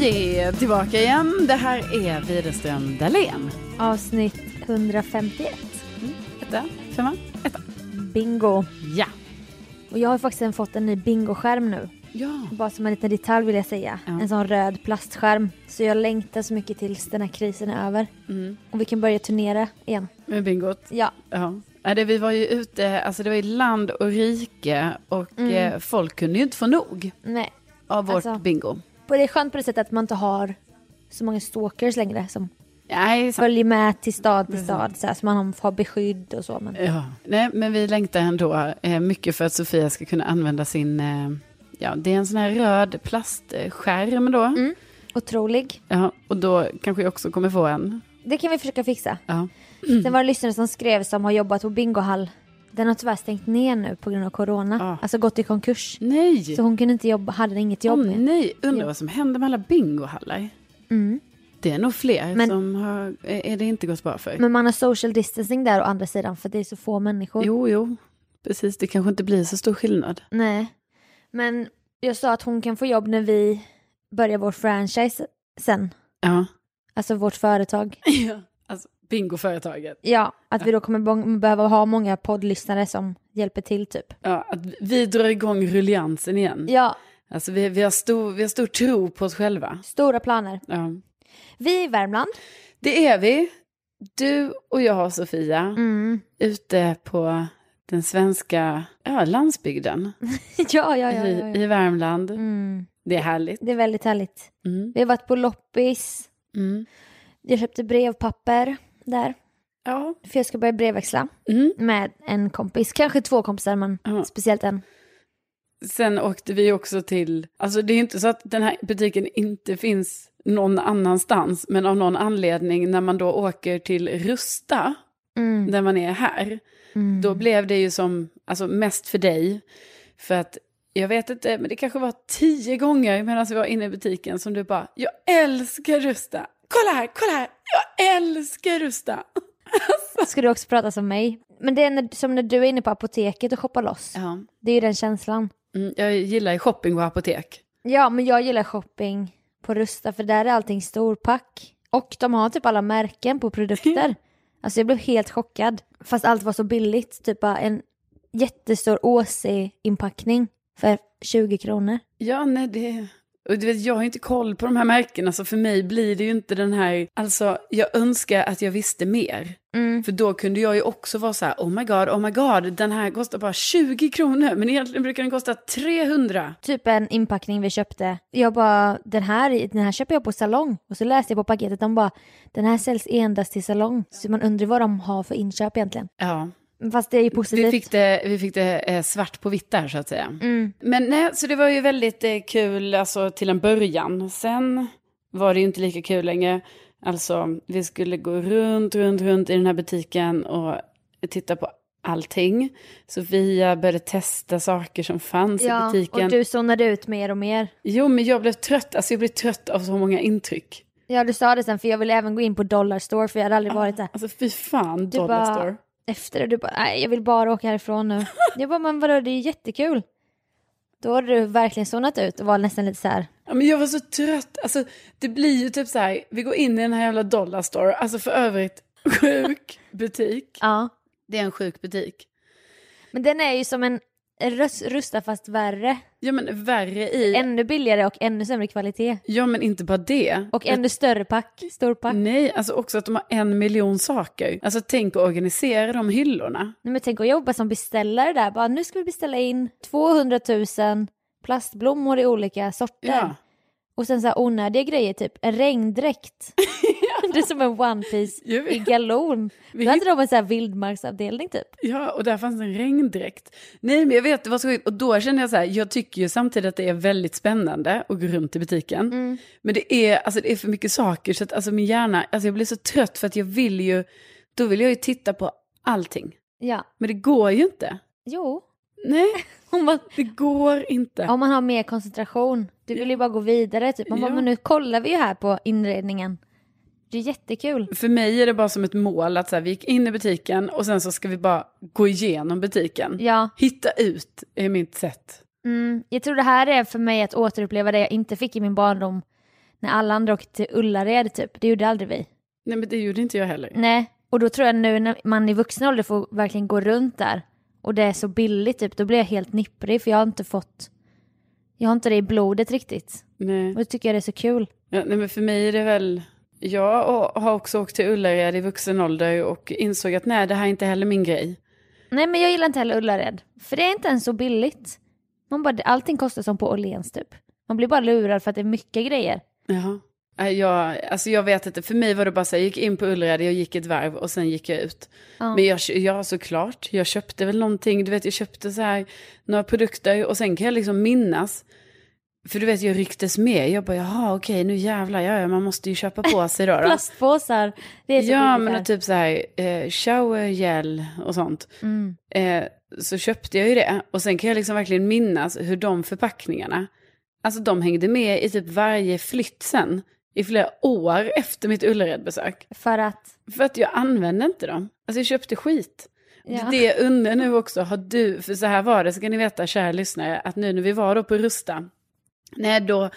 Vi är tillbaka igen. Det här är Widerström Dahlén. Avsnitt 151. Etta, femma. Bingo. Ja. Och jag har faktiskt en- fått en ny bingoskärm nu. Ja. Bara som en liten detalj vill jag säga. Ja. En sån röd plastskärm. Så jag längtar så mycket tills den här krisen är över. Mm. Och vi kan börja turnera igen. Med bingot. Ja, Ja. Nej, det, vi var ju ute, alltså det var ju land och rike och Mm. eh, folk kunde ju inte få nog nej. av vårt Alltså. bingo. På det är skönt på det sättet att man inte har så många stalkers längre som Nej, sant. följer med till stad till stad. Så, här, så man har beskydd och så. Men... Ja. Nej, men vi längtar ändå eh, mycket för att Sofia ska kunna använda sin, eh, ja, det är en sån här röd plastskärm då. Otrolig. Ja, och då kanske jag också kommer få en. Det kan vi försöka fixa. Ja. Mm. Sen var det lyssnare som skrev som har jobbat på bingohall. Den har tyvärr stängt ner nu på grund av corona. Ah. Alltså gått i konkurs. Nej! Så hon kunde inte jobba, hade inget jobb Åh, med. nej, undrar Ja. vad som händer med alla bingohallar. Mm. Det är nog fler Men- som har, är det inte gått bra för. Men man har social distancing där å andra sidan för det är så få människor. jo, jo, precis, det kanske inte blir så stor skillnad. Nej. Men jag sa att hon kan få jobb när vi börjar vår franchise sen. Ja. Alltså vårt företag. Alltså, bingoföretaget. Ja, att vi då kommer bo- behöva ha många poddlyssnare som hjälper till typ. Ja, att vi drar igång rulliansen igen. Ja, Alltså, vi, vi, har stor, vi har stor tro på oss själva. stora planer. Ja. Vi är i Värmland. Det är vi, du och jag Sofia, Mm. ute på den svenska ja, landsbygden ja, ja, ja. ja, I, ja. i Värmland. Mm. Det är härligt. Det är väldigt härligt. Mm. Vi har varit på loppis. Mm. Jag köpte brevpapper där. Ja. För jag ska börja brevväxla Mm. med en kompis. Kanske två kompisar men Ja. speciellt en. Sen åkte vi också till, alltså det är ju inte så att den här butiken inte finns någon annanstans, men av någon anledning när man då åker till Rusta, Mm. där man är här, Mm. då blev det ju som, alltså mest för dig, för att jag vet inte, men det kanske var tio gånger medan vi var inne i butiken som du bara, jag älskar Rusta, kolla här, kolla här, jag älskar Rusta. Ska du också prata som mig? Men det är när, som när du är inne på apoteket och shoppar loss. Ja, Det är ju den känslan. mm, jag gillar ju shopping och apotek. Ja, men jag gillar shopping på Rusta för där är allting storpack. Och de har typ alla märken på produkter. alltså jag blev helt chockad. Fast allt var så billigt. Typ bara en jättestor Åse-inpackning för 20 kronor. Ja, nej det... Och du vet, jag har ju inte koll på de här märkena, så för mig blir det ju inte den här... Alltså, jag önskar att jag visste mer. Mm. För då kunde jag ju också vara så här, oh my god, oh my god, den här kostar bara 20 kronor, men egentligen brukar den kosta 300. Typ en inpackning vi köpte. Jag bara, den här, den här köper jag på salong. Och så läste jag på paketet, de bara, den här säljs endast till salong. Så man undrar vad de har för inköp egentligen. Ja, Fast det är ju vi positivt. fick det, vi fick det eh, svart på vitt där så att säga. Mm. Men nej, så det var ju väldigt eh, kul alltså, till en början. Sen var det ju inte lika kul längre. Alltså, vi skulle gå runt, runt, runt i den här butiken och titta på allting. Sofia började testa saker som fanns i Ja, butiken. och du zonade ut mer och mer. Jo, men jag blev trött. Alltså, jag blev trött av så många intryck. Ja, du sa det sen, för jag ville även gå in på Dollarstore, för jag hade aldrig varit där. Alltså, fy fan, Du Dollarstore. bara- Efter det, du bara, nej, jag vill bara åka härifrån nu. jag bara, men vadå, det är ju jättekul. Då hade du verkligen zonat ut och var nästan lite så här, Ja, men jag var så trött. Alltså, det blir ju typ så här, vi går in i den här jävla Dollarstore. Alltså, för övrigt, sjuk butik. ja. Det är en sjuk butik. Men den är ju som en röst, rusta fast värre. Ja men värre i... Ännu billigare och ännu sämre kvalitet. Ja men inte bara det. Och ännu större pack, storpack. Nej Nej, alltså också att de har en miljon saker. Alltså tänk att organisera de hyllorna. men tänk att jobba som beställare där, bara nu ska vi beställa in 200 000 plastblommor i olika sorter. Ja. Och sen så här onödiga grejer, typ en regndräkt. levde som en One Piece Jag vet. i galon. Vi Då hade de en sån här vildmarksavdelning typ. Ja, och där fanns en regndräkt. Nej, men jag vet, det var så skit. Och då kände jag så här, jag tycker ju samtidigt att det är väldigt spännande att gå runt i butiken. Mm. Men det är, alltså, det är för mycket saker, så att alltså, min hjärna, alltså, jag blir så trött för att jag vill ju, då vill jag ju titta på allting. Ja, Men det går ju inte. jo. Nej, Hon bara, det går inte. om man har mer koncentration. Du vill ju bara gå vidare. Typ. Man bara, Ja. men nu kollar vi ju här på inredningen. Det är jättekul. För mig är det bara som ett mål att så här, vi gick in i butiken och sen så ska vi bara gå igenom butiken. Ja, Hitta ut är mitt sätt. mm. jag tror det här är för mig att återuppleva det jag inte fick i min barndom. När alla andra åkte till Ullared typ. Det gjorde aldrig vi. Nej, men det gjorde inte jag heller. Nej, och då tror jag nu när man i vuxen ålder får verkligen gå runt där och det är så billigt typ, då blir jag helt nipprig för jag har inte fått, jag har inte det i blodet riktigt. Nej. Och då tycker jag det är så kul. Ja, nej, men för mig är det väl... Jag å- har också åkt till Ullared i vuxen ålder och insåg att nej, det här är inte heller min grej. Nej men jag gillar inte heller Ullared, för det är inte ens så billigt. Man bara, allting kostar som på Åhléns typ. Man blir bara lurad för att det är mycket grejer. Jaha. Nej, Jag, alltså jag vet inte, för mig var det bara så här, jag gick in på Ullared, jag gick ett varv och sen gick jag ut. Men jag, kö- ja, såklart, jag köpte väl någonting, du vet jag köpte så här några produkter och sen kan jag liksom minnas, för du vet jag rycktes med, jag bara jaha okej nu jävlar, ja, ja man måste ju köpa på sig då. då. Plastpåsar, det är så Ja, billigt men här. och typ så här, eh, showergel och sånt. Mm. Eh, så köpte jag ju det. Och sen kan jag liksom verkligen minnas hur de förpackningarna, alltså de hängde med i typ varje flytt sen. I flera år efter mitt Ullared-besök. För att, För att jag använde inte dem. Alltså jag köpte skit. Ja. Det jag undrar nu också, har du, för så här var det, ska ni veta kära lyssnare, att nu när vi var då på Rusta, nej då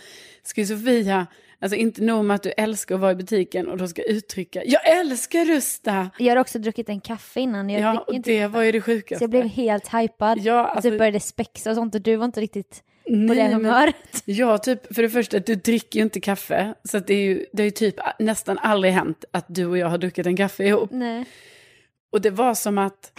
ska ju Sofia, alltså inte nog med att du älskar att vara i butiken och då ska uttrycka, jag älskar Rusta! jag har också druckit en kaffe innan. Jag Ja, dricker och inte det var ju det Så sjukaste. jag blev helt hypad. Ja, och alltså- typ började spexa och sånt och du var inte riktigt på Nej, det men- humöret. Ja, typ, för det första, du dricker ju inte kaffe, så att det är ju, det är ju typ nästan aldrig hänt att du och jag har druckit en kaffe ihop. Nej. Och det var som att,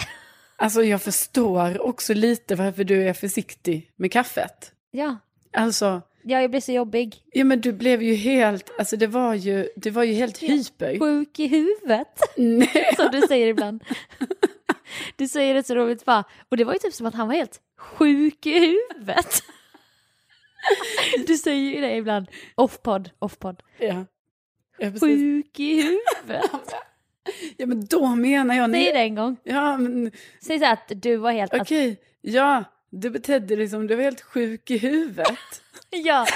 alltså jag förstår också lite varför du är försiktig med kaffet. Ja. Alltså, ja, jag blev så jobbig. ja men du blev ju helt, alltså det var ju, det var ju helt hyper. Sjuk i huvudet, Nej. som du säger ibland. Du säger det så roligt bara. Och det var ju typ som att han var helt sjuk i huvudet. Du säger ju det ibland. Off-podd, off-podd. Ja. Ja, precis. Sjuk i huvudet. ja men då menar jag, Säg nej. det en gång. Ja men Säg så här att du var helt... alltså, Att, okej, ja, du betedde dig som du var helt sjuk i huvudet. ja,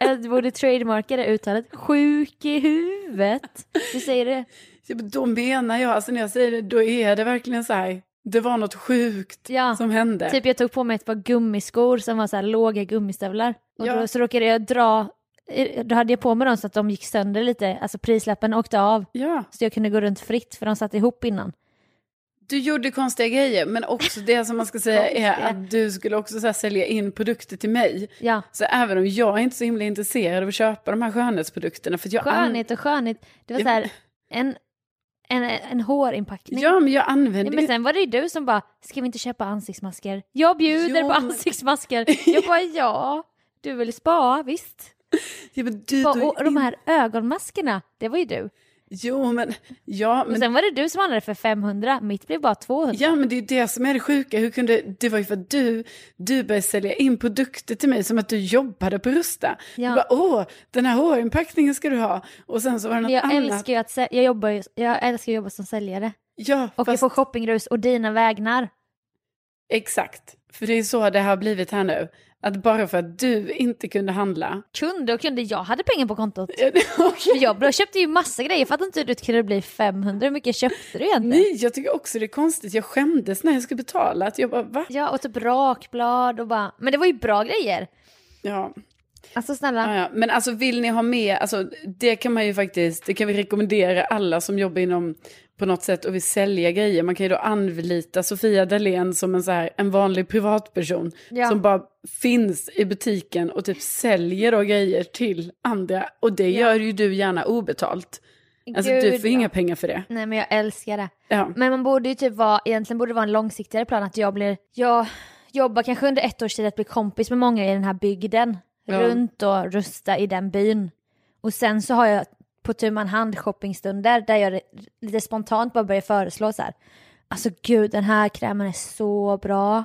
jag borde trademarka det uttalet. Sjuk i huvudet. Du säger det. Ja, men Då menar jag, alltså när jag säger det, då är det verkligen så här, det var något sjukt Ja, som hände. Typ jag tog på mig ett par gummiskor som var så här låga gummistövlar. Och Ja. då, så råkade jag dra, eh, då hade jag på mig dem så att de gick sönder lite, alltså prislappen åkte av. Ja, Så jag kunde gå runt fritt för de satt ihop innan. du gjorde konstiga grejer, men också det som man ska säga är Konstiga. att du skulle också så här, sälja in produkter till mig. Ja. Så även om jag är inte så himla intresserad av att köpa de här skönhetsprodukterna, för att jag, an- Skönhet och skönhet, det var så här en, en, en hårinpackning. ja, men jag Ja, använder men ju- sen var det ju du som bara, ska vi inte köpa ansiktsmasker? Jag bjuder Jo, på men- ansiktsmasker. Jag bara, ja, du vill spa, visst. ja, men du, Bara, du- Och de här ögonmaskerna, det var ju du. Jo, men, ja, Och men, sen var det du som handlade för 500, mitt blev bara 200. ja, men det är ju det som är det sjuka. Hur kunde, det var ju för att du, du började sälja in produkter till mig som att du jobbade på Rusta. Ja. Du bara, åh, den här hårinpackningen ska du ha. Och sen så var det något Men jag annat. älskar ju att sä- jag jobbar ju, jag älskar att jobba som säljare. Ja, Och jag fast, får shoppingrus och dina vägnar. exakt. För det är så det har blivit här nu. Att bara för att du inte kunde handla. Kunde och kunde, jag hade pengar på kontot. Okej. För jag bra- köpte ju massa grejer, jag fattar inte hur det kunde bli 500, hur mycket köpte du egentligen? Nej, jag tycker också det är konstigt. Jag skämdes när jag skulle betala. Att jag bara, va? Ja, och typ rakblad och bara, men det var ju bra grejer. Ja. Alltså snälla, Ja, ja. Men alltså vill ni ha med, alltså, det kan man ju faktiskt, det kan vi rekommendera alla som jobbar inom på något sätt och vill sälja grejer. Man kan ju då anlita Sofia Dalén som en, så här, en vanlig privatperson Ja. som bara finns i butiken och typ säljer då grejer till andra. Och det gör ju du gärna obetalt. Alltså du Gud, får ja. inga pengar för det. Nej men jag älskar det. Ja. Men man borde ju typ vara, egentligen borde det vara en långsiktigare plan att jag blir, jag jobbar kanske under ett års tid att bli kompis med många i den här bygden. Ja. Runt och rusta i den byn. Och sen så har jag på tu man hand shoppingstunder där jag lite spontant bara börjar föreslå så här. Alltså gud den här krämen är så bra.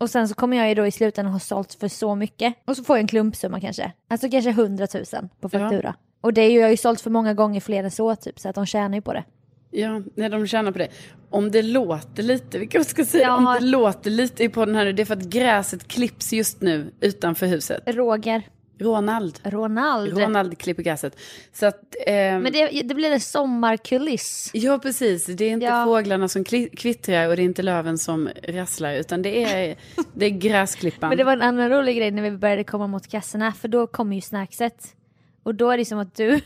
Och sen så kommer jag ju då i slutändan ha sålt för så mycket. Och så får jag en klumpsumma kanske. Alltså kanske 100 000 på faktura. Och det är ju, jag har ju sålt för många gånger fler än så typ så att de tjänar ju på det. Ja, när de tjänar på det. Om det låter lite, vi kanske ska säga, Ja. om det låter lite i podden här nu, det är för att gräset klipps just nu utanför huset. Roger, Ronald. Ronald. Ronald klipper gräset. Så att, eh, Men det, det blir en sommarkuliss. ja precis, det är inte Ja. fåglarna som kli- kvittrar och det är inte löven som rasslar, utan det är, det är gräsklippan. Men det var en annan rolig grej när vi började komma mot kassorna för då kommer ju snackset. Och då är det som att du,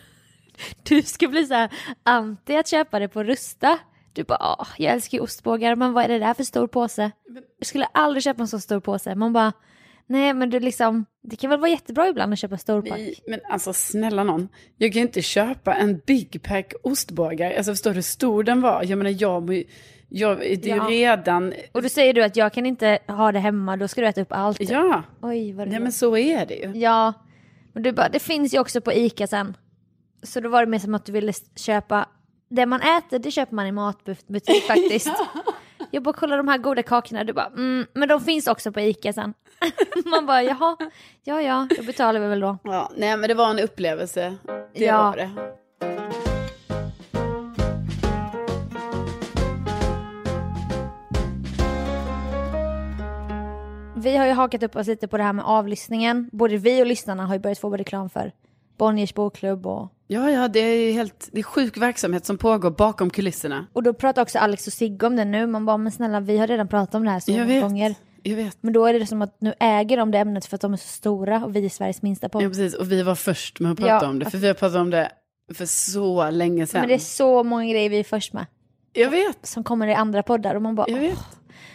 du ska bli så här anti att köpa det på Rusta. Du bara "Ah, jag älskar ju ostbågar men vad är det där för stor påse? Jag skulle aldrig köpa en så stor påse. Man bara nej men du liksom det kan väl vara jättebra ibland att köpa storpack. Nej, Men alltså snälla någon, jag kan ju inte köpa en Big Pack ostbågar. Alltså förstår du hur stor den var? Jag menar jag, må ju- jag det är ju Ja. redan, Och då säger du att jag kan inte ha det hemma då ska du äta upp allt. ja, Oj vad du nej men så är det ju. Ja, men du bara, det finns ju också på ICA sen. Så då var det mer som att du ville s- köpa, det man äter det köper man i matbutik faktiskt. Jag bara kollar de här goda kakorna, du bara mm, men de finns också på ICA sen. Man bara jaha, ja ja, då betalar vi väl då. Ja, nej men det var en upplevelse, det Ja. var det. Vi har ju hakat upp oss lite på det här med avlyssningen. Både vi och lyssnarna har ju börjat få reklam för Bonniers bokklubb och Ja, ja, det är ju helt, det är sjuk verksamhet som pågår bakom kulisserna. och då pratar också Alex och Sigge om det nu. Man bara, men snälla vi har redan pratat om det här så Jag många vet, gånger. jag vet. Men då är det som att nu äger de det ämnet för att de är så stora och vi är Sveriges minsta podd. Ja, precis, och vi var först med att prata Ja. om det, för vi har pratat om det för så länge sedan. Men det är så många grejer vi är först med Jag vet, som kommer i andra poddar och man bara jag "Åh, vet.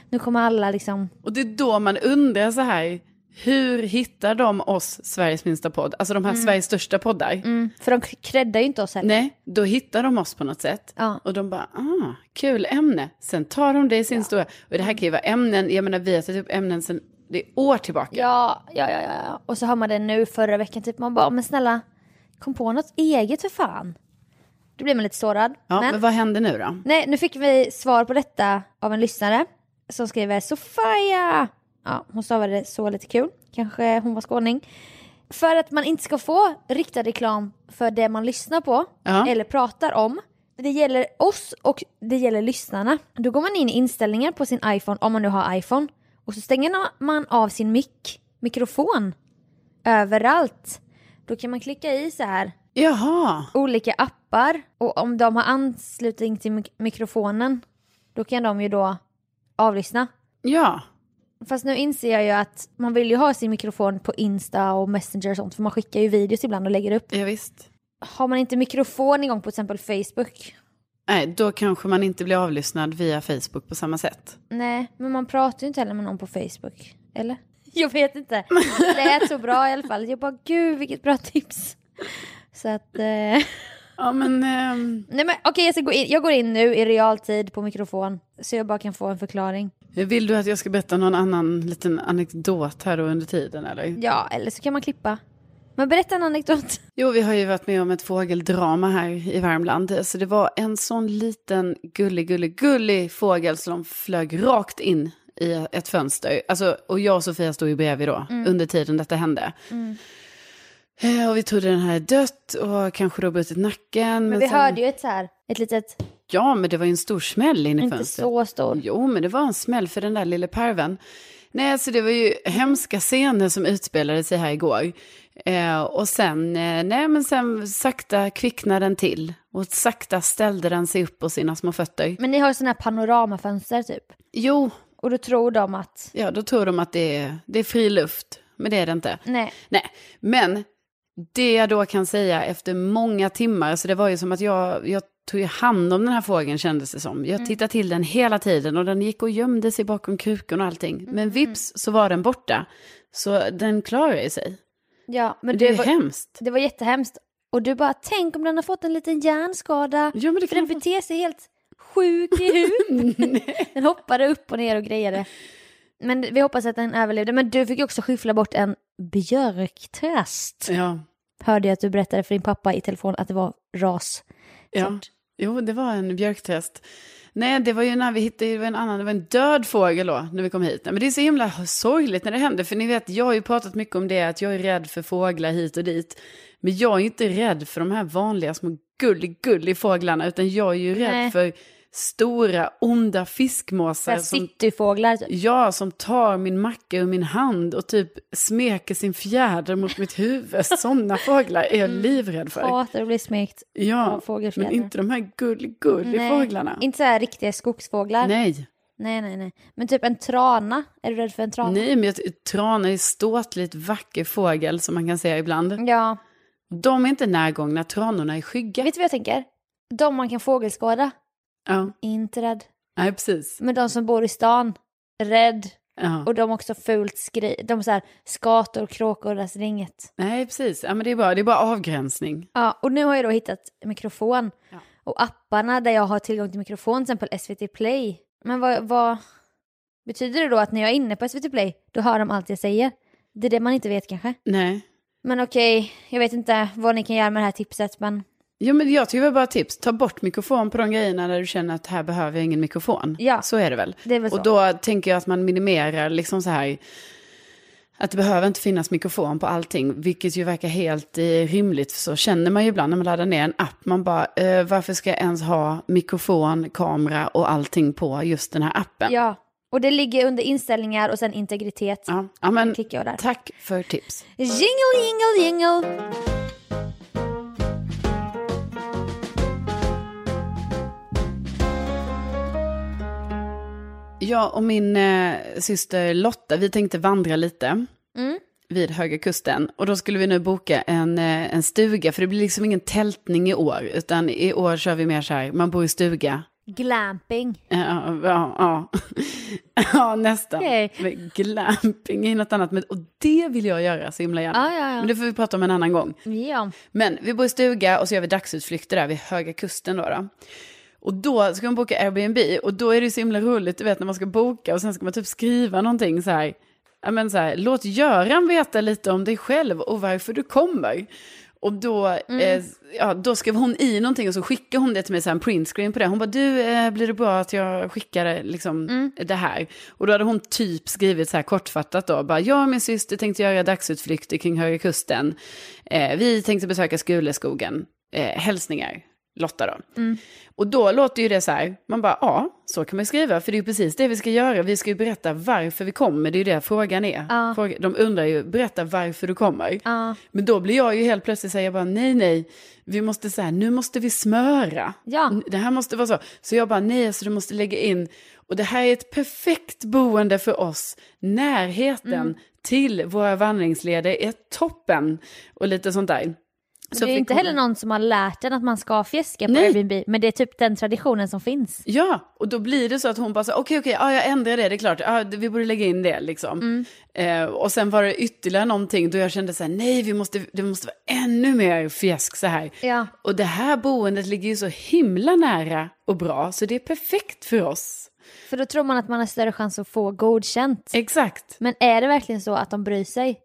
nu kommer alla liksom. Och det är då man undrar så här, hur hittar de oss, Sveriges minsta podd? Alltså Mm. de här Sveriges största poddar. För de k- creddar ju inte oss heller. Nej, då hittar de oss på något sätt. Ja. Och de bara, ah, kul ämne. Sen tar de det i sin stora... Och det här kan ju vara ämnen, jag menar vi har tagit upp ämnen sen det är år tillbaka. Ja, ja, ja, ja, ja. Och så har man det nu förra veckan typ. Man bara, men snälla kom på något eget för fan. Då blir man lite sårad. Ja, men, vad händer nu då? Nej, nu fick vi svar på detta av en lyssnare som skriver Sofia. Ja, hon stavade det så lite kul. Kanske hon var skåning. För att man inte ska få riktad reklam för det man lyssnar på Ja. eller pratar om. Det gäller oss och det gäller lyssnarna. Då går man in i inställningar på sin iPhone, om man nu har iPhone. Och så stänger man av sin mick, mikrofon, överallt. Då kan man klicka i så här Jaha, olika appar och om de har anslutning till mik- mikrofonen då kan de ju då avlyssna. ja. Fast nu inser jag ju att man vill ju ha sin mikrofon på Insta och Messenger och sånt för man skickar ju videos ibland och lägger upp. Ja, visst. Har man inte mikrofon igång på till exempel Facebook? Nej, då kanske man inte blir avlyssnad via Facebook på samma sätt. Nej, men man pratar ju inte heller med någon på Facebook. Eller? Jag vet inte. Det lät så bra i alla fall. Jag bara gud vilket bra tips. Så att... Eh... Ja, men... ehm, Nej men okej jag, ska gå in. jag går in nu i realtid på mikrofon så jag bara kan få en förklaring. vill du att jag ska berätta någon annan liten anekdot här då under tiden, eller? Ja, eller så kan man klippa. Men berätta en anekdot. Jo, vi har ju varit med om ett fågeldrama här i Värmland. Alltså, det var en sån liten gullig, gullig, gullig fågel som flög rakt in i ett fönster. Alltså, och jag och Sofia stod ju bredvid då, Mm. under tiden detta hände. Eh, Och vi trodde den här är dött och kanske då brutit nacken. Men, Vi sen- hörde ju ett så här, ett litet, Ja, men det var ju en stor smäll in i inte fönstret. så stor. Jo, men det var en smäll för den där lille perven. Nej, så det var ju hemska scener som utspelade sig här igår. Eh, och sen, eh, nej men sen sakta kvicknade den till. Och sakta ställde den sig upp på sina små fötter. Men ni har ju sådana här panoramafönster typ. Jo, Och då tror de att, ja då tror de att det är, det är fri luft. Men det är det inte. nej, Nej, men det jag då kan säga efter många timmar, så det var ju som att jag, jag tog ju hand om den här fågeln kändes det som. Mm. Jag tittade till den hela tiden och den gick och gömde sig bakom kuken och allting. Mm, Men vips så var den borta. Så den klarade ju sig. ja. Men Men det är det, var, hemskt. det var jättehemskt. Och du bara, tänk om den har fått en liten hjärnskada. Ja, men det För kan den man få- beter sig helt sjuk i huvudet. den hoppade upp och ner och grejade. Men vi hoppas att den överlevde. Men du fick ju också skyffla bort en björktrast. Ja. hörde jag att du berättade för din pappa i telefon att det var ras. Ja. Jo, det var en björktest. Nej, det var ju när vi hittade det var en annan, det var en död fågel då, när vi kom hit. Nej, Men det är så himla sorgligt när det händer, för ni vet, jag har ju pratat mycket om det, att jag är rädd för fåglar hit och dit. Men jag är ju inte rädd för de här vanliga små gullig fåglarna, utan jag är ju rädd Nej. för stora, onda fiskmåsar Såhär som cityfåglar typ. Ja, som tar min macka ur min hand och typ smeker sin fjäder mot mitt huvud. Sådana fåglar är jag livrädd för. Hatar att bli smekt. Ja, av fågelfjädrar. men inte de här gull-gull-fåglarna. Inte så här riktiga skogsfåglar. Nej. Nej, nej, nej, Men typ en trana. Är du rädd för en trana? nej, men jag ty- tranar är ståtligt vacker fågel som man kan säga ibland. Ja. De är inte närgångna, tranorna är skygga. Vet du vad jag tänker? De man kan fågelskåda. Ja, Inte rädd. nej, precis. Men de som bor i stan. Rädd. Ja. Och de också fult skri... De så här skator, kråkor, alltså det är inget. Nej, precis. Ja, men det är bara, det är bara avgränsning. Ja, och nu har jag då hittat mikrofon. Ja. Och apparna där jag har tillgång till mikrofon, till exempel SVT Play. Men vad, vad betyder det då att när jag är inne på SVT Play, då hör de allt jag säger? Det är det man inte vet kanske. Nej. Men okej, jag vet inte vad ni kan göra med det här tipset, men Jo, men jag tycker väl bara tips. Ta bort mikrofon på de grejerna där du känner att här behöver jag ingen mikrofon. Ja. Så är det väl. Det är väl så. och då tänker jag att man minimerar liksom så här. Att det behöver inte finnas mikrofon på allting, vilket ju verkar helt eh, rimligt. För så känner man ju ibland när man laddar ner en app. Man bara, eh, varför ska jag ens ha mikrofon, kamera och allting på just den här appen? ja. Och det ligger under inställningar och sen integritet. Ja, ja men Klickar jag där. tack för tips. Jingle, jingle, jingle! Jag och min eh, syster Lotta, vi tänkte vandra lite Mm. vid Höga Kusten. Och då skulle vi nu boka en, eh, en stuga, för det blir liksom ingen tältning i år. Utan i år kör vi mer så här, man bor i stuga. Glamping. Ja, ja, ja. ja nästan. Okej. Men glamping är något annat. Men, och det vill jag göra så himla gärna. Ja, ja, ja. Men det får vi prata om en annan gång. Ja. Men vi bor i stuga och så gör vi dagsutflykter där vid Höga Kusten. Då, då. Och då ska man boka Airbnb och då är det så himla roligt, du vet när man ska boka och sen ska man typ skriva någonting så här. Ja, men så här låt Göran veta lite om dig själv och varför du kommer. Och då, eh, ja, då skrev hon i någonting och så skickade hon det till mig, så här, en printscreen på det. Hon bara, du, eh, blir det bra att jag skickar liksom, det här? Och då hade hon typ skrivit så här kortfattat då, bara, jag och min syster tänkte göra dagsutflykter kring Höga Kusten. Eh, vi tänkte besöka Skuleskogen. Eh, hälsningar, Lotta då. Och då låter ju det så här, man bara, ja, så kan man ju skriva, för det är ju precis det vi ska göra. Vi ska ju berätta varför vi kommer, det är ju det frågan är. Fråga- De undrar ju, berätta varför du kommer. Men då blir jag ju helt plötsligt så här, jag bara, nej, nej, vi måste så här, nu måste vi smöra. Ja. N- Det här måste vara så. Så jag bara, nej, alltså du måste lägga in, och det här är ett perfekt boende för oss, närheten Mm. till våra vandringsleder är toppen, och lite sånt där. Så det är fick inte hon- heller någon som har lärt en att man ska fjäska på Nej. Airbnb, men det är typ den traditionen som finns. Ja, och då blir det så att hon bara så här, okej, okej, ja, jag ändrar det, det är klart, ja, det- vi borde lägga in det liksom. Eh, och sen var det ytterligare någonting då jag kände så här, nej, vi måste, det måste vara ännu mer fjäsk så här. Ja. Och det här boendet ligger ju så himla nära och bra, så det är perfekt för oss. För då tror man att man har större chans att få godkänt. Exakt. Men är det verkligen så att de bryr sig?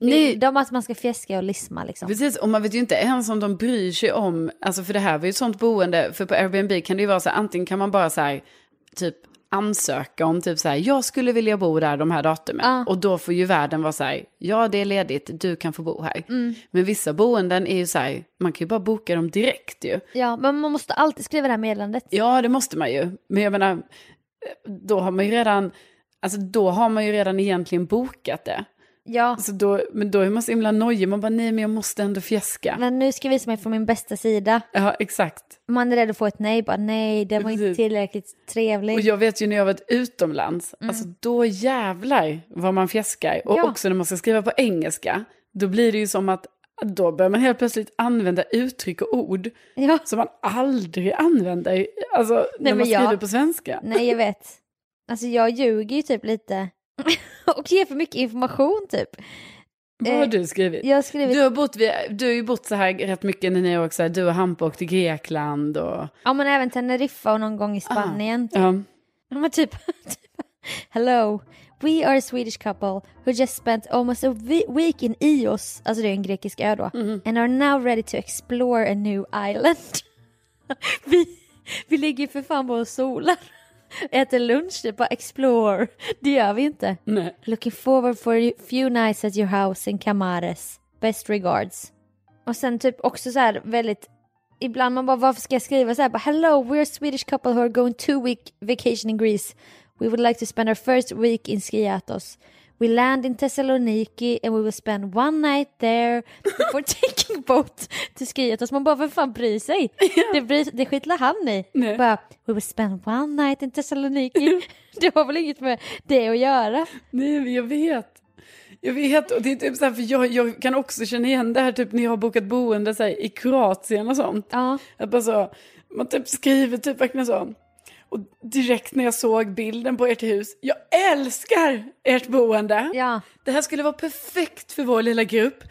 Nej, De att man ska fjäska och lisma liksom. Precis, och man vet ju inte ens om de bryr sig om, alltså för det här var ju ett sånt boende, för på Airbnb kan det ju vara så här, antingen kan man bara så här, typ ansöka om typ så här, jag skulle vilja bo där de här datumen. Och då får ju världen vara så här, ja det är ledigt, du kan få bo här. Men vissa boenden är ju så här, man kan ju bara boka dem direkt ju. Ja, men man måste alltid skriva det här meddelandet. Ja, det måste man ju. Men jag menar, då har man ju redan, alltså då har man ju redan egentligen bokat det. Ja, Så då, men då är man så himla nojig, man bara nej men jag måste ändå fjäska. men nu ska jag visa mig från min bästa sida. Ja, exakt. Man är rädd att få ett nej, bara nej, den var inte Precis. tillräckligt trevlig. Och jag vet ju när jag varit utomlands, alltså då jävlar vad man fjäskar. Och Mm. Ja. också när man ska skriva på engelska, då blir det ju som att då börjar man helt plötsligt använda uttryck och ord Ja. som man aldrig använder alltså, när men man skriver jag- på svenska. Nej, jag vet. Alltså jag ljuger ju typ lite. och ger för mycket information typ. Vad har eh, du skrivit? Jag har skrivit, Du har, bott vid, du har ju bott så här rätt mycket när ni också, du och Hampa åkte till Grekland och... ja men även Teneriffa och någon gång i Spanien. Ja. De var typ, typ, hello, We are a Swedish couple who just spent almost a we- week in Ios, alltså det är en grekisk ö då, and are now ready to explore a new island. vi, vi ligger ju för fan på solar. Äter lunch, det är bara explore. Det gör vi inte. Nej. Looking forward for a few nights at your house in Camares. Best regards. Och sen typ också så här väldigt Ibland man bara varför ska jag skriva så här bara hello we're a Swedish couple who are going two week vacation in Greece. We would like to spend our first week in Skiathos. We land in Thessaloniki and we will spend one night there before taking boat to Skiathos. Man bara vem fan bryr sig? Det, bryr, det skitlar han i. Bara we will spend one night in Thessaloniki. Det har väl inget med det att göra? Nej, men jag vet. Jag vet, och det är typ så här, för jag, jag kan också känna igen det här typ när jag har bokat boende så här, i Kroatien och sånt. Ja. Att bara så, man typ skriver typ verkligen så. Och direkt när jag såg bilden på ert hus, jag älskar ert boende. Ja. Det här skulle vara perfekt för vår lilla grupp.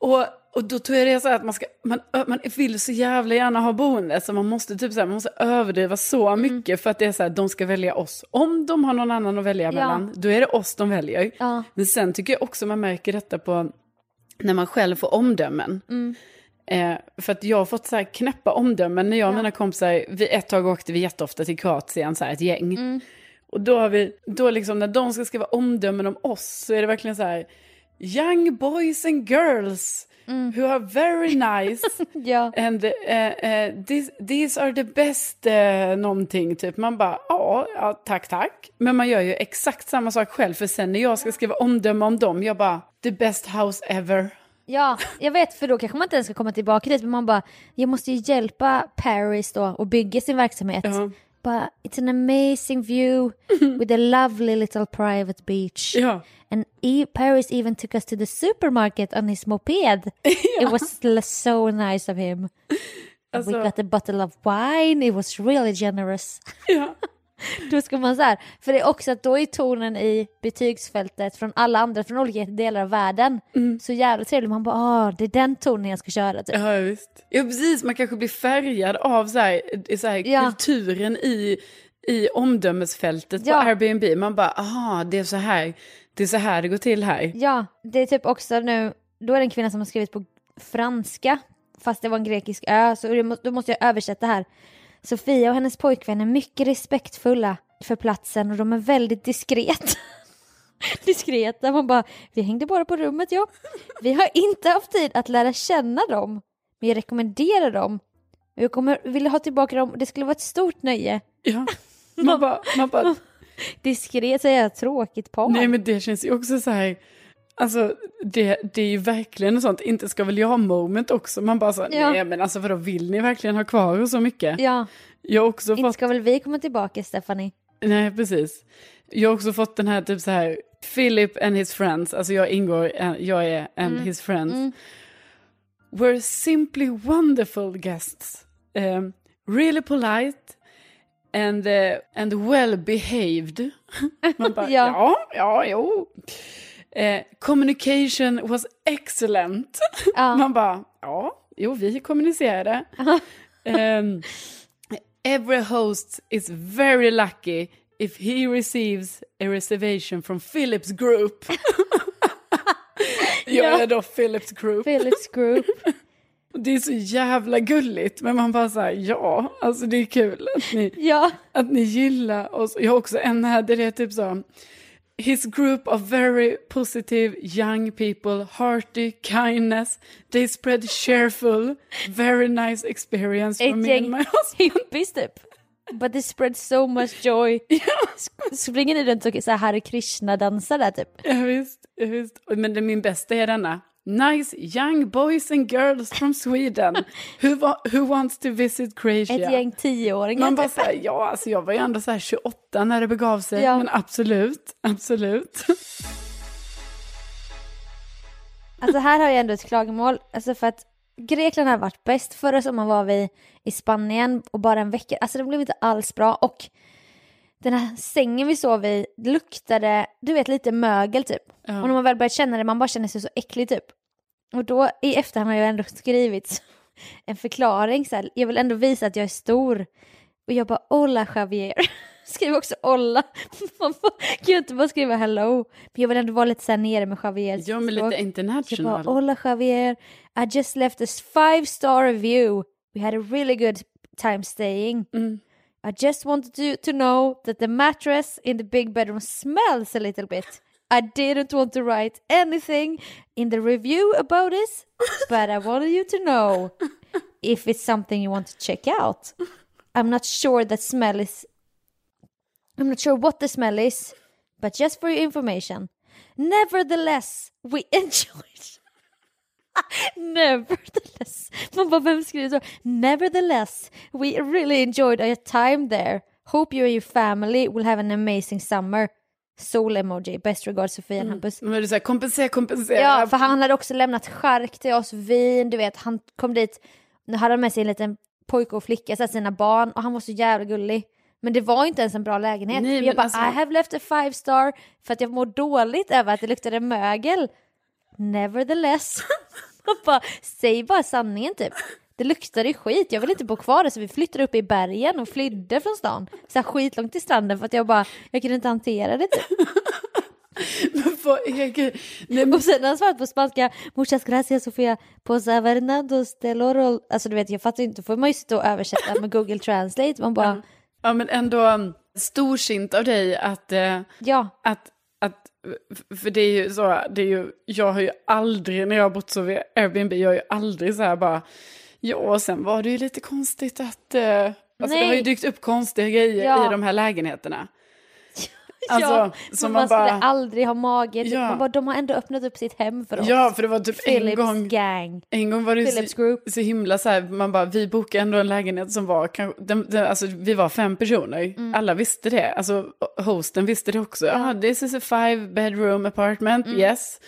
Och, och då tror jag det är så här att man, ska, man, ö- man vill så jävla gärna ha boende så man måste, typ så här, man måste överdriva så mycket för att det är så här, de ska välja oss. Om de har någon annan att välja mellan, då är det oss de väljer. Ja. Men sen tycker jag också man märker detta på när man själv får omdömen. Eh, för att jag har fått så här knäppa omdömen när jag och mina kompisar, vi ett tag åkte vi jätteofta till Kroatien, så här ett gäng. Och då har vi, då liksom när de ska skriva omdömen om oss så är det verkligen så här, young boys and girls who are very nice. Ja. And eh, eh, this, these are the best eh, någonting, typ. Man bara, ja, ja, tack, tack. Men man gör ju exakt samma sak själv, för sen när jag ska skriva omdöme om dem, jag bara, the best house ever. Ja, jag vet för då kanske man inte ens ska komma tillbaka dit men man bara, jag måste ju hjälpa Paris då och bygga sin verksamhet. Ja. Bara, it's an amazing view with a lovely little private beach. Ja. And e- Paris even took us to the supermarket on his moped. It was l- so nice of him. We got a bottle of wine, it was really generous. Ja. Då ska man så här, för det är också att då är tonen i betygsfältet från alla andra från olika delar av världen så jävla trevlig. Man bara, ah, det är den tonen jag ska köra typ. Ja, visst. Ja, precis. Man kanske blir färgad av så här, eh, så här, Ja. kulturen i, i omdömesfältet Ja. på Airbnb. Man bara, aha, det är så här det, är så här det går till här. Ja, det är typ också nu, då är det en kvinna som har skrivit på franska fast det var en grekisk ö, så det må- då måste jag översätta här. Sofia och hennes pojkvän är mycket respektfulla för platsen och de är väldigt diskret. Diskreta, man bara, vi hängde bara på rummet ja. Vi har inte haft tid att lära känna dem, men jag rekommenderar dem. Jag kommer vilja ha tillbaka dem, det skulle vara ett stort nöje. Ja. Man bara, man bara Diskret, säger jag, tråkigt par. Nej men det känns ju också så här, alltså det, det är ju verkligen ett sånt, inte ska väl jag ha moment också, man bara så här, Ja. nej men alltså vadå vill ni verkligen ha kvar och så mycket? Ja, Jag har också inte fått, ska väl vi komma tillbaka Stephanie? nej precis, jag har också fått den här typ så här, Philip and his friends, alltså jag ingår, eh, jag är and his friends, were simply wonderful guests, um, really polite, And, eh, and well behaved. Man bara, Ja. ja, ja, jo. Eh, communication was excellent. Man bara, ja, jo, vi kommunicerade. Ehm, every host is very lucky if he receives a reservation from Philips Group. Jag är då Philips Group. Philips group. Det är så jävla gulligt, men man bara så här, ja, alltså det är kul att ni Ja. att ni gillar oss. Jag har också en här där det är typ så. His group of very positive young people, hearty kindness, they spread cheerful, very nice experience for Ett me and gäng my husband. hippies typ. But they spread so much joy. Sk- Springer ni runt och så här Hare Krishna-dansar där typ? Ja, visst, ja, visst. Och- Men det, min bästa är denna. Nice young boys and girls from Sweden who, wa- who wants to visit Croatia. Ett gäng tioåringar Man typ. bara såhär, ja alltså jag var ju ändå såhär 28 när det begav sig. Ja. Men absolut, absolut. Alltså här har jag ändå ett klagomål. Alltså för att Grekland har varit bäst. Förra sommaren var vi i Spanien och bara en vecka. Alltså det blev inte alls bra. Och den här sängen vi sov i luktade, du vet lite mögel typ. Och när man väl börjat känna det, man bara känner sig så äcklig typ. Och då i efterhand har jag ändå skrivit en förklaring så här, jag vill ändå visa att jag är stor. Och jag bara, hola Javier. Skriv också Olla. Man får- kan ju inte bara skriva hello. Men jag vill ändå vara lite så här nere med Javier. Ja, men lite Jag bara, international. Hola Javier, I just left a five star review. We had a really good time staying. I just wanted you to know that the mattress in the big bedroom smells a little bit. I didn't want to write anything in the review about this, but I wanted you to know if it's something you want to check out. I'm not sure the smell is. I'm not sure what the smell is, but just for your information. Nevertheless, we enjoyed. Nevertheless. Man bara, vem skriver så? Nevertheless, we really enjoyed our time there. Hope you and your family will have an amazing summer. Sol-emoji. Best regards Sofia and Hampus. Men det är så här, kompensera, kompensera. Ja, för han hade också lämnat chark till oss, vin, du vet. Han kom dit, nu hade han med sig en liten pojke och flicka, så här, sina barn, och han var så jävla gullig. Men det var ju inte ens en bra lägenhet. Nej, men jag bara, alltså- I have left a five star för att jag mår dåligt över att det luktade mögel. Nevertheless. Jag bara, Säg bara sanningen typ. Det luktade ju skit, jag vill inte bo kvar där så vi flyttade upp i bergen och flydde från stan. Så här skitlångt till stranden för att jag bara, jag kunde inte hantera det typ. Vad är grej? Nej, men, Och sen har han svarat på spanska, muchas gracias Sofia, posa Fernandos del oro. Alltså du vet, jag fattar ju inte, får man ju sitta och översätta med Google Translate. Man bara, ja, men ändå um, storsint av dig att, eh, ja, att, att... För det är ju så, det är ju, jag har ju aldrig, när jag har bott så vid Airbnb, jag har ju aldrig så här bara... Ja, och sen var det ju lite konstigt att... Eh, alltså det har ju Nej. dykt upp konstiga grejer Ja. i de här lägenheterna. Alltså, ja. så Men man man skulle bara- aldrig ha mage. Typ. Ja. Man bara, de har ändå öppnat upp sitt hem för oss. Ja, för det var typ en Philips gång... gang. En gång var det ju Philips så, Group. så himla så här, man bara, vi bokade ändå en lägenhet som var, kanske, den, den, alltså vi var fem personer, Mm. alla visste det, alltså hosten visste det också, ah, this is a five bedroom apartment, Mm. yes.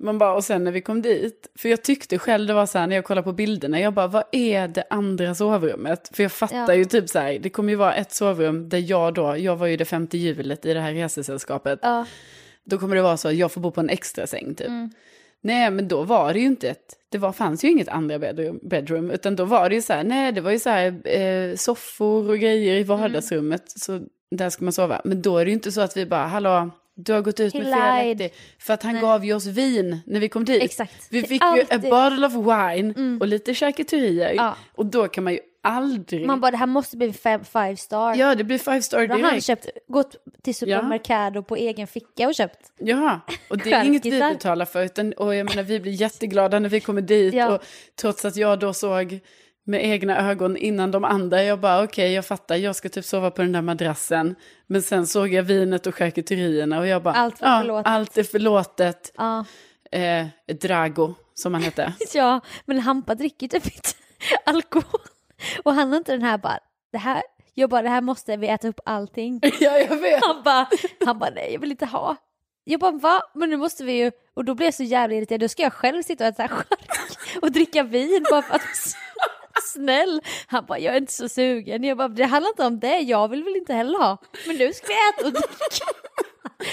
Man bara, och sen när vi kom dit, för jag tyckte själv det var så här när jag kollade på bilderna, jag bara, vad är det andra sovrummet? För jag fattar Ja. ju typ så här, det kommer ju vara ett sovrum där jag då, jag var ju det femte hjulet i det här resesällskapet, Ja. då kommer det vara så att jag får bo på en extra säng typ. Mm. Nej, men då var det ju inte ett, det var, fanns ju inget andra bedroom, bedroom, utan då var det ju så här, nej, det var ju så här eh, soffor och grejer Mm. i vardagsrummet, så där ska man sova. Men då är det ju inte så att vi bara, hallå, du har gått ut He med lied. felaktigt. För att han gav ju oss vin när vi kom dit. Exakt. Vi Det är fick ju alltid- Mm. a bottle of wine och lite charkuterier. Ja. Och då kan man ju aldrig... Man bara, det här måste bli fem, five star. ja, det blir five star Då har han direkt. köpt, gått till Supermercado på egen ficka och köpt. Ja, och det är inget vi Skärmtittar. betalar för. Utan, och jag menar, vi blir jätteglada när vi kommer dit. Ja. Och trots att jag då såg med egna ögon innan de andra, jag bara okej, jag fattar, jag ska typ sova på den där madrassen. Men sen såg jag vinet och charkuterierna och jag bara, Allt var ja, förlåtet." allt är förlåtet. Ja. Eh, Drago, som han hette. Ja, men Hampa dricker ju typ inte alkohol. Och han har inte den här bara, det här, jag bara det här måste vi äta upp allting. ja, jag vet. Han bara, han bara nej jag vill inte ha. Jag bara va? Men nu måste vi ju, och då blir jag så jävla irriterad, då ska jag själv sitta och äta chark och dricka vin bara för att snäll. Han bara jag är inte så sugen. Jag bara det handlar inte om det, jag vill väl inte heller ha. Men nu ska vi äta och dricka.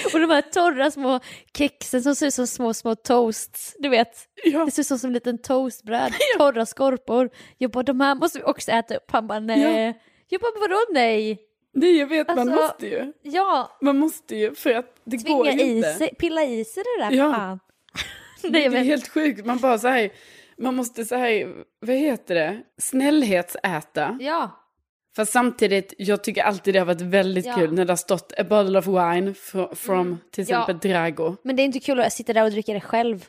Och de här torra små kexen som ser ut som små, små toasts, du vet. Ja. Det ser ut som, som en liten toastbröd, torra skorpor. Jag bara, de här måste vi också äta upp. Han bara, nej. Jag bara, vadå nej? Nej, jag vet, man Alltså- måste ju. Ja, Man måste ju, för att det går tvinga ju i inte. sig, pilla i sig det där, Ja. fan. nej, jag Det är vet. helt sjukt, man bara så här, man måste så här, vad heter det, snällhetsäta. Ja, Fast samtidigt, jag tycker alltid det har varit väldigt Ja. Mm. kul när det har stått a bottle of wine fr- from till Ja. exempel Drago. men det är inte kul att sitta där och dricka det själv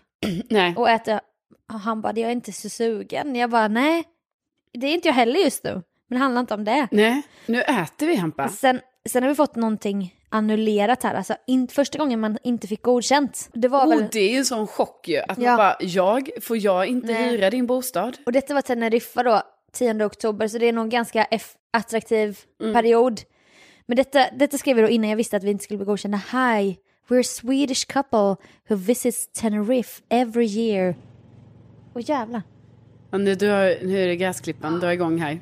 Nej, och äta. Och han bara, jag är inte så sugen. Jag bara, nej. Det är inte jag heller just nu, men det handlar inte om det. nej, nu äter vi Hampa. Sen, sen har vi fått någonting annullerat här, alltså in, första gången man inte fick godkänt. Det var Oh, väl... det är ju en sån chock ju, att man Ja. bara, jag, får jag inte Nej. hyra din bostad? Och detta var Teneriffa då, 10 oktober, så det är nog en ganska eff- attraktiv period. Men detta, detta skrev vi då innan jag visste att vi inte skulle bli godkända. Hi, we're a Swedish couple who visits Tenerife every year. Åh jävlar. Ja, nu, drar, nu är det gräsklippan, drar igång här.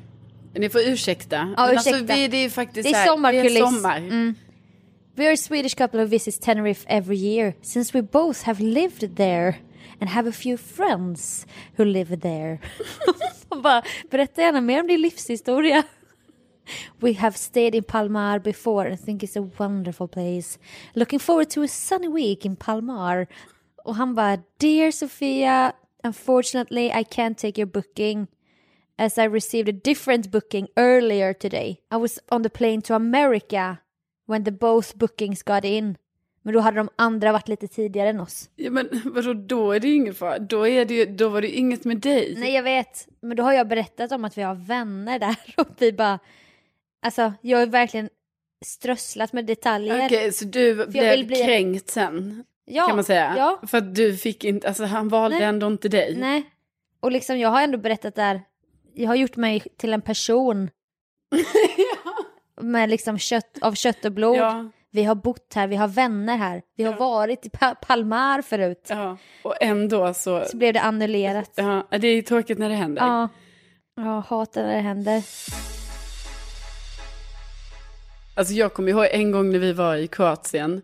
Ni får ursäkta. Ja, Men Alltså, ursäkta. vi, det är ju faktiskt Det är Mm. så här, det sommarkuliss. är sommar. We are a Swedish couple who visits Tenerife every year since we both have lived there and have a few friends who live there. Och bara, berätta gärna mer om din livshistoria. We have stayed in Palmar before and think it's a wonderful place. Looking forward to a sunny week in Palmar. Och han bara, Dear Sofia, unfortunately I can't take your booking as I received a different booking earlier today. I was on the plane to America when the both bookings got in. Men då hade de andra varit lite tidigare än oss. Ja, men vadå, då är det ju ingen fara. Då, är det ju, då var det ju inget med dig. Nej jag vet, men då har jag berättat om att vi har vänner där och vi bara... Alltså jag har verkligen strösslat med detaljer. Okej, så du blev vill bli- kränkt sen, ja, kan man säga? Ja, För att du fick inte, alltså han valde Nej. ändå inte dig. nej. Och liksom jag har ändå berättat där, jag har gjort mig till en person med liksom kött, av kött och blod. Ja, Vi har bott här, vi har vänner här, vi har varit i pa- Palmar förut. ja. Och ändå så, Så blev det annullerat. ja, det är ju tråkigt när det händer. Ja. Ja, hatar när det händer. Alltså jag kommer ihåg en gång när vi var i Kroatien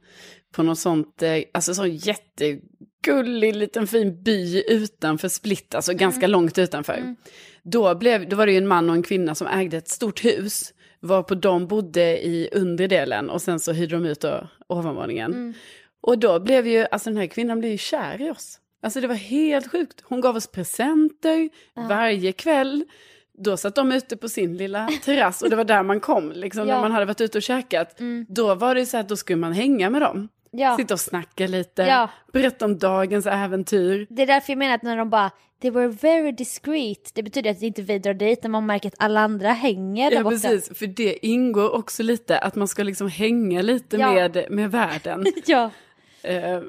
på något sånt, eh, alltså sån jättegullig liten fin by utanför Split, alltså Mm. ganska långt utanför. Då, blev, då var det ju en man och en kvinna som ägde ett stort hus, varpå de bodde i underdelen och sen så hyrde de ut då ovanvåningen. Mm. Och då blev ju, alltså den här kvinnan blev ju kär i oss. Alltså det var helt sjukt. Hon gav oss presenter varje kväll. Då satt de ute på sin lilla terrass och det var där man kom, liksom, när Ja. Mm. man hade varit ute och käkat. Då var det ju så att då skulle man hänga med dem. Ja. Sitta och snacka lite, Ja. berätta om dagens äventyr. Det är därför jag menar att när de bara “they were very discreet” det betyder att inte vi drar dit när man märker att alla andra hänger där Ja, borta. precis. För det ingår också lite att man ska liksom hänga lite Ja. med, med världen. Ja, Eh,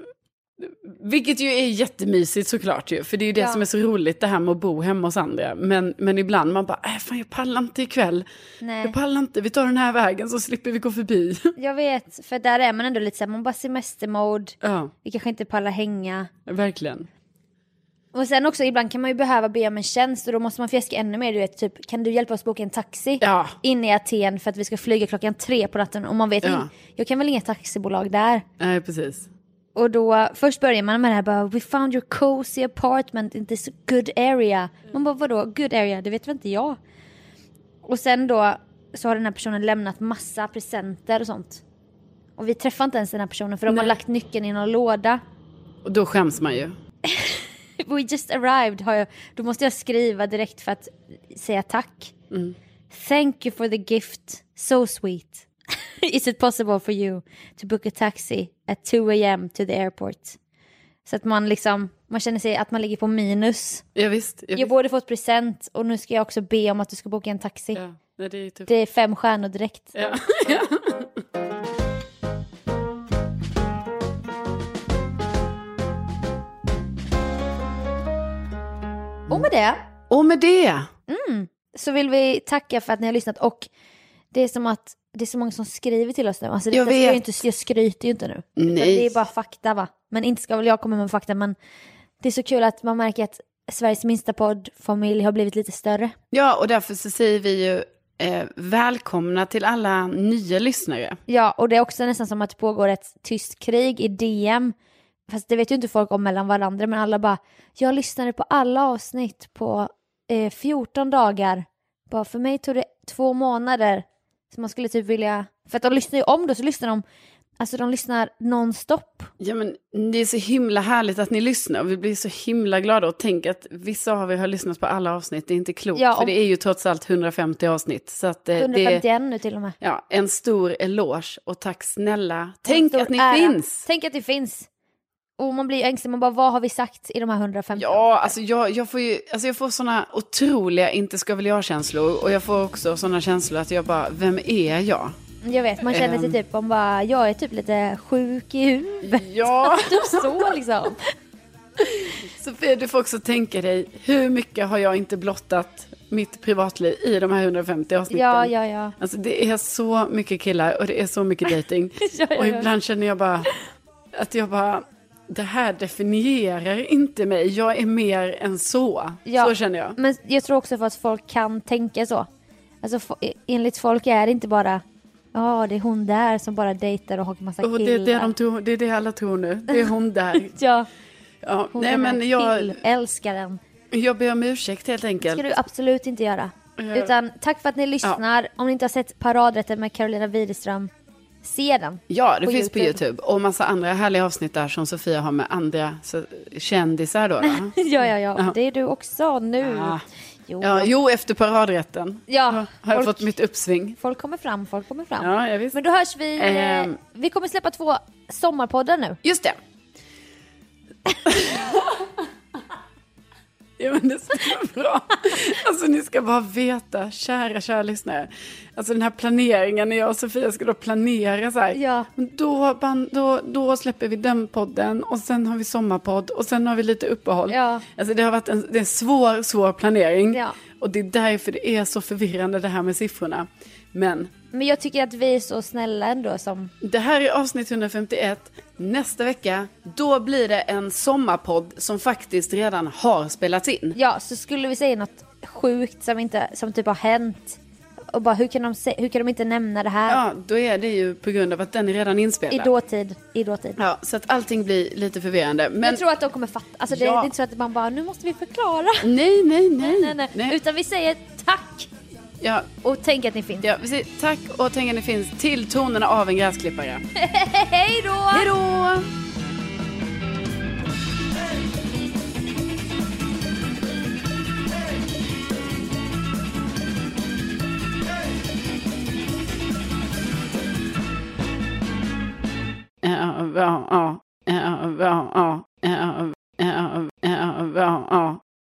vilket ju är jättemysigt såklart ju, för det är ju det Ja. som är så roligt det här med att bo hemma hos andra. Men, men ibland man bara, äh, fan jag pallar inte ikväll, nej. jag pallar inte, vi tar den här vägen så slipper vi gå förbi. Jag vet, för där är man ändå lite såhär, man bara semestermode, ja, vi kanske inte pallar hänga. verkligen. Och sen också, ibland kan man ju behöva be om en tjänst och då måste man fjäska ännu mer, du vet, typ kan du hjälpa oss boka en taxi Ja. in i Aten för att vi ska flyga klockan tre på natten och man vet Ja. inte, jag kan väl inga taxibolag där. Nej, precis. Och då, först börjar man med det här bara, we found your cozy apartment in this good area. Man bara, vadå good area? Det vet väl inte jag? Och sen då så har den här personen lämnat massa presenter och sånt. Och vi träffar inte ens den här personen för de har lagt nyckeln i någon låda. Och då skäms man ju. We just arrived, har jag, då måste jag skriva direkt för att säga tack. Mm. Thank you for the gift, so sweet. Is it possible for you to book a taxi at 2 am to the airport? Så att man liksom, man känner sig att man ligger på minus. Ja, visst. Ja, Jag visst. borde fått present och nu ska jag också be om att du ska boka en taxi. Ja. Nej, det är ju tufft. Det är fem stjärnor direkt. Ja. Och med det Och med det, så vill vi tacka för att ni har lyssnat och det är som att det är så många som skriver till oss nu. Alltså, det, Jag jag, ska jag, vet. ju inte, jag skryter ju inte nu. Utan Nej. Det är bara fakta va? Men inte ska väl jag komma med fakta men det är så kul att man märker att Sveriges minsta poddfamilj har blivit lite större. ja, och därför så säger vi ju eh, välkomna till alla nya lyssnare. Ja, och det är också nästan som att det pågår ett tyst krig i DM. Fast det vet ju inte folk om mellan varandra, men alla bara “jag lyssnade på alla avsnitt på eh, 14 dagar”. Bara för mig tog det två månader. Så man skulle typ vilja... För att de lyssnar ju om då, så lyssnar de... Alltså de lyssnar nonstop. Ja, men det är så himla härligt att ni lyssnar och vi blir så himla glada och tänk att vissa av er har lyssnat på alla avsnitt, det är inte klokt Ja, för om- det är ju trots allt 150 avsnitt. Så att eh, det är 151 nu till och med. ja, en stor eloge och tack snälla. Tänk Stor att ni ära. finns! Tänk att det finns! Och man blir ju ängslig, man bara vad har vi sagt i de här 150? Ja, alltså jag, jag får ju, alltså jag får sådana otroliga inte ska väl jag-känslor och jag får också sådana känslor att jag bara, vem är jag? Jag vet, man känner sig Ehm. typ, man bara jag är typ lite sjuk i huvudet. Ja, Typ så liksom. Sofia, du får också tänka dig, hur mycket har jag inte blottat mitt privatliv i de här 150 avsnitten? Ja, ja, ja. Alltså det är så mycket killar och det är så mycket dating. Ja, ja, Och ja. ibland känner jag bara att jag bara, det här definierar inte mig, jag är mer än så. Ja. Så känner jag. Men jag tror också för att folk kan tänka så. Alltså fo- enligt folk är det inte bara ja det är hon där som bara dejtar och har en massa Och det, är det, de tror, det är det alla tror nu, det är hon där. Ja, Ja. hon Nej är men jag, älskaren. jag ber om ursäkt helt Det ska enkelt. du absolut inte göra. Eh. Utan tack för att ni lyssnar. Om ni inte har sett Paradrätten med Carolina Widerström, se den. Ja, det På finns på YouTube. YouTube. Och massa andra härliga avsnitt där som Sofia har med andra så, kändisar då. då. ja, ja, ja. Det är du också nu. Ja. Jo, Ah. Ja, jo, efter paradrätten Ja, har jag folk- fått mitt uppsving. folk kommer fram, folk kommer fram. Ja, jag visst. Men då hörs vi. Eh, Ehm. vi kommer släppa två sommarpoddar nu. Just det. ja, men det stämmer bra. Alltså, ni ska bara veta, kära, kära lyssnare. Alltså den här planeringen, när jag och Sofia ska då planera så här. Ja. Men Då, ban- då, då släpper vi den podden och sen har vi sommarpodd och sen har vi lite uppehåll. Ja. Alltså det har varit en, det är en svår, svår planering. Ja. Och det är därför det är så förvirrande det här med siffrorna. Men Men jag tycker att vi är så snälla ändå som... det här är avsnitt 151. Nästa vecka, då blir det en sommarpodd som faktiskt redan har spelats in. Ja, så skulle vi säga något sjukt som, inte, som typ har hänt. Och bara hur kan de, se, hur kan de inte nämna det här? Ja, då är det ju på grund av att den är redan inspelad. I dåtid. I dåtid. Ja, så att allting blir lite förvirrande. Men Jag tror att de kommer fatta. Alltså det, Ja. det är inte så att man bara, nu måste vi förklara. nej, nej, nej. Nej, nej. Utan vi säger tack Ja, och tänk att ni finns. ja, vi säger tack och tänk att ni finns till tonerna av en gräsklippare. Hej då! Hej då! Ja, ja, ja, ja, ja, ja, ja, ja, ja, ja.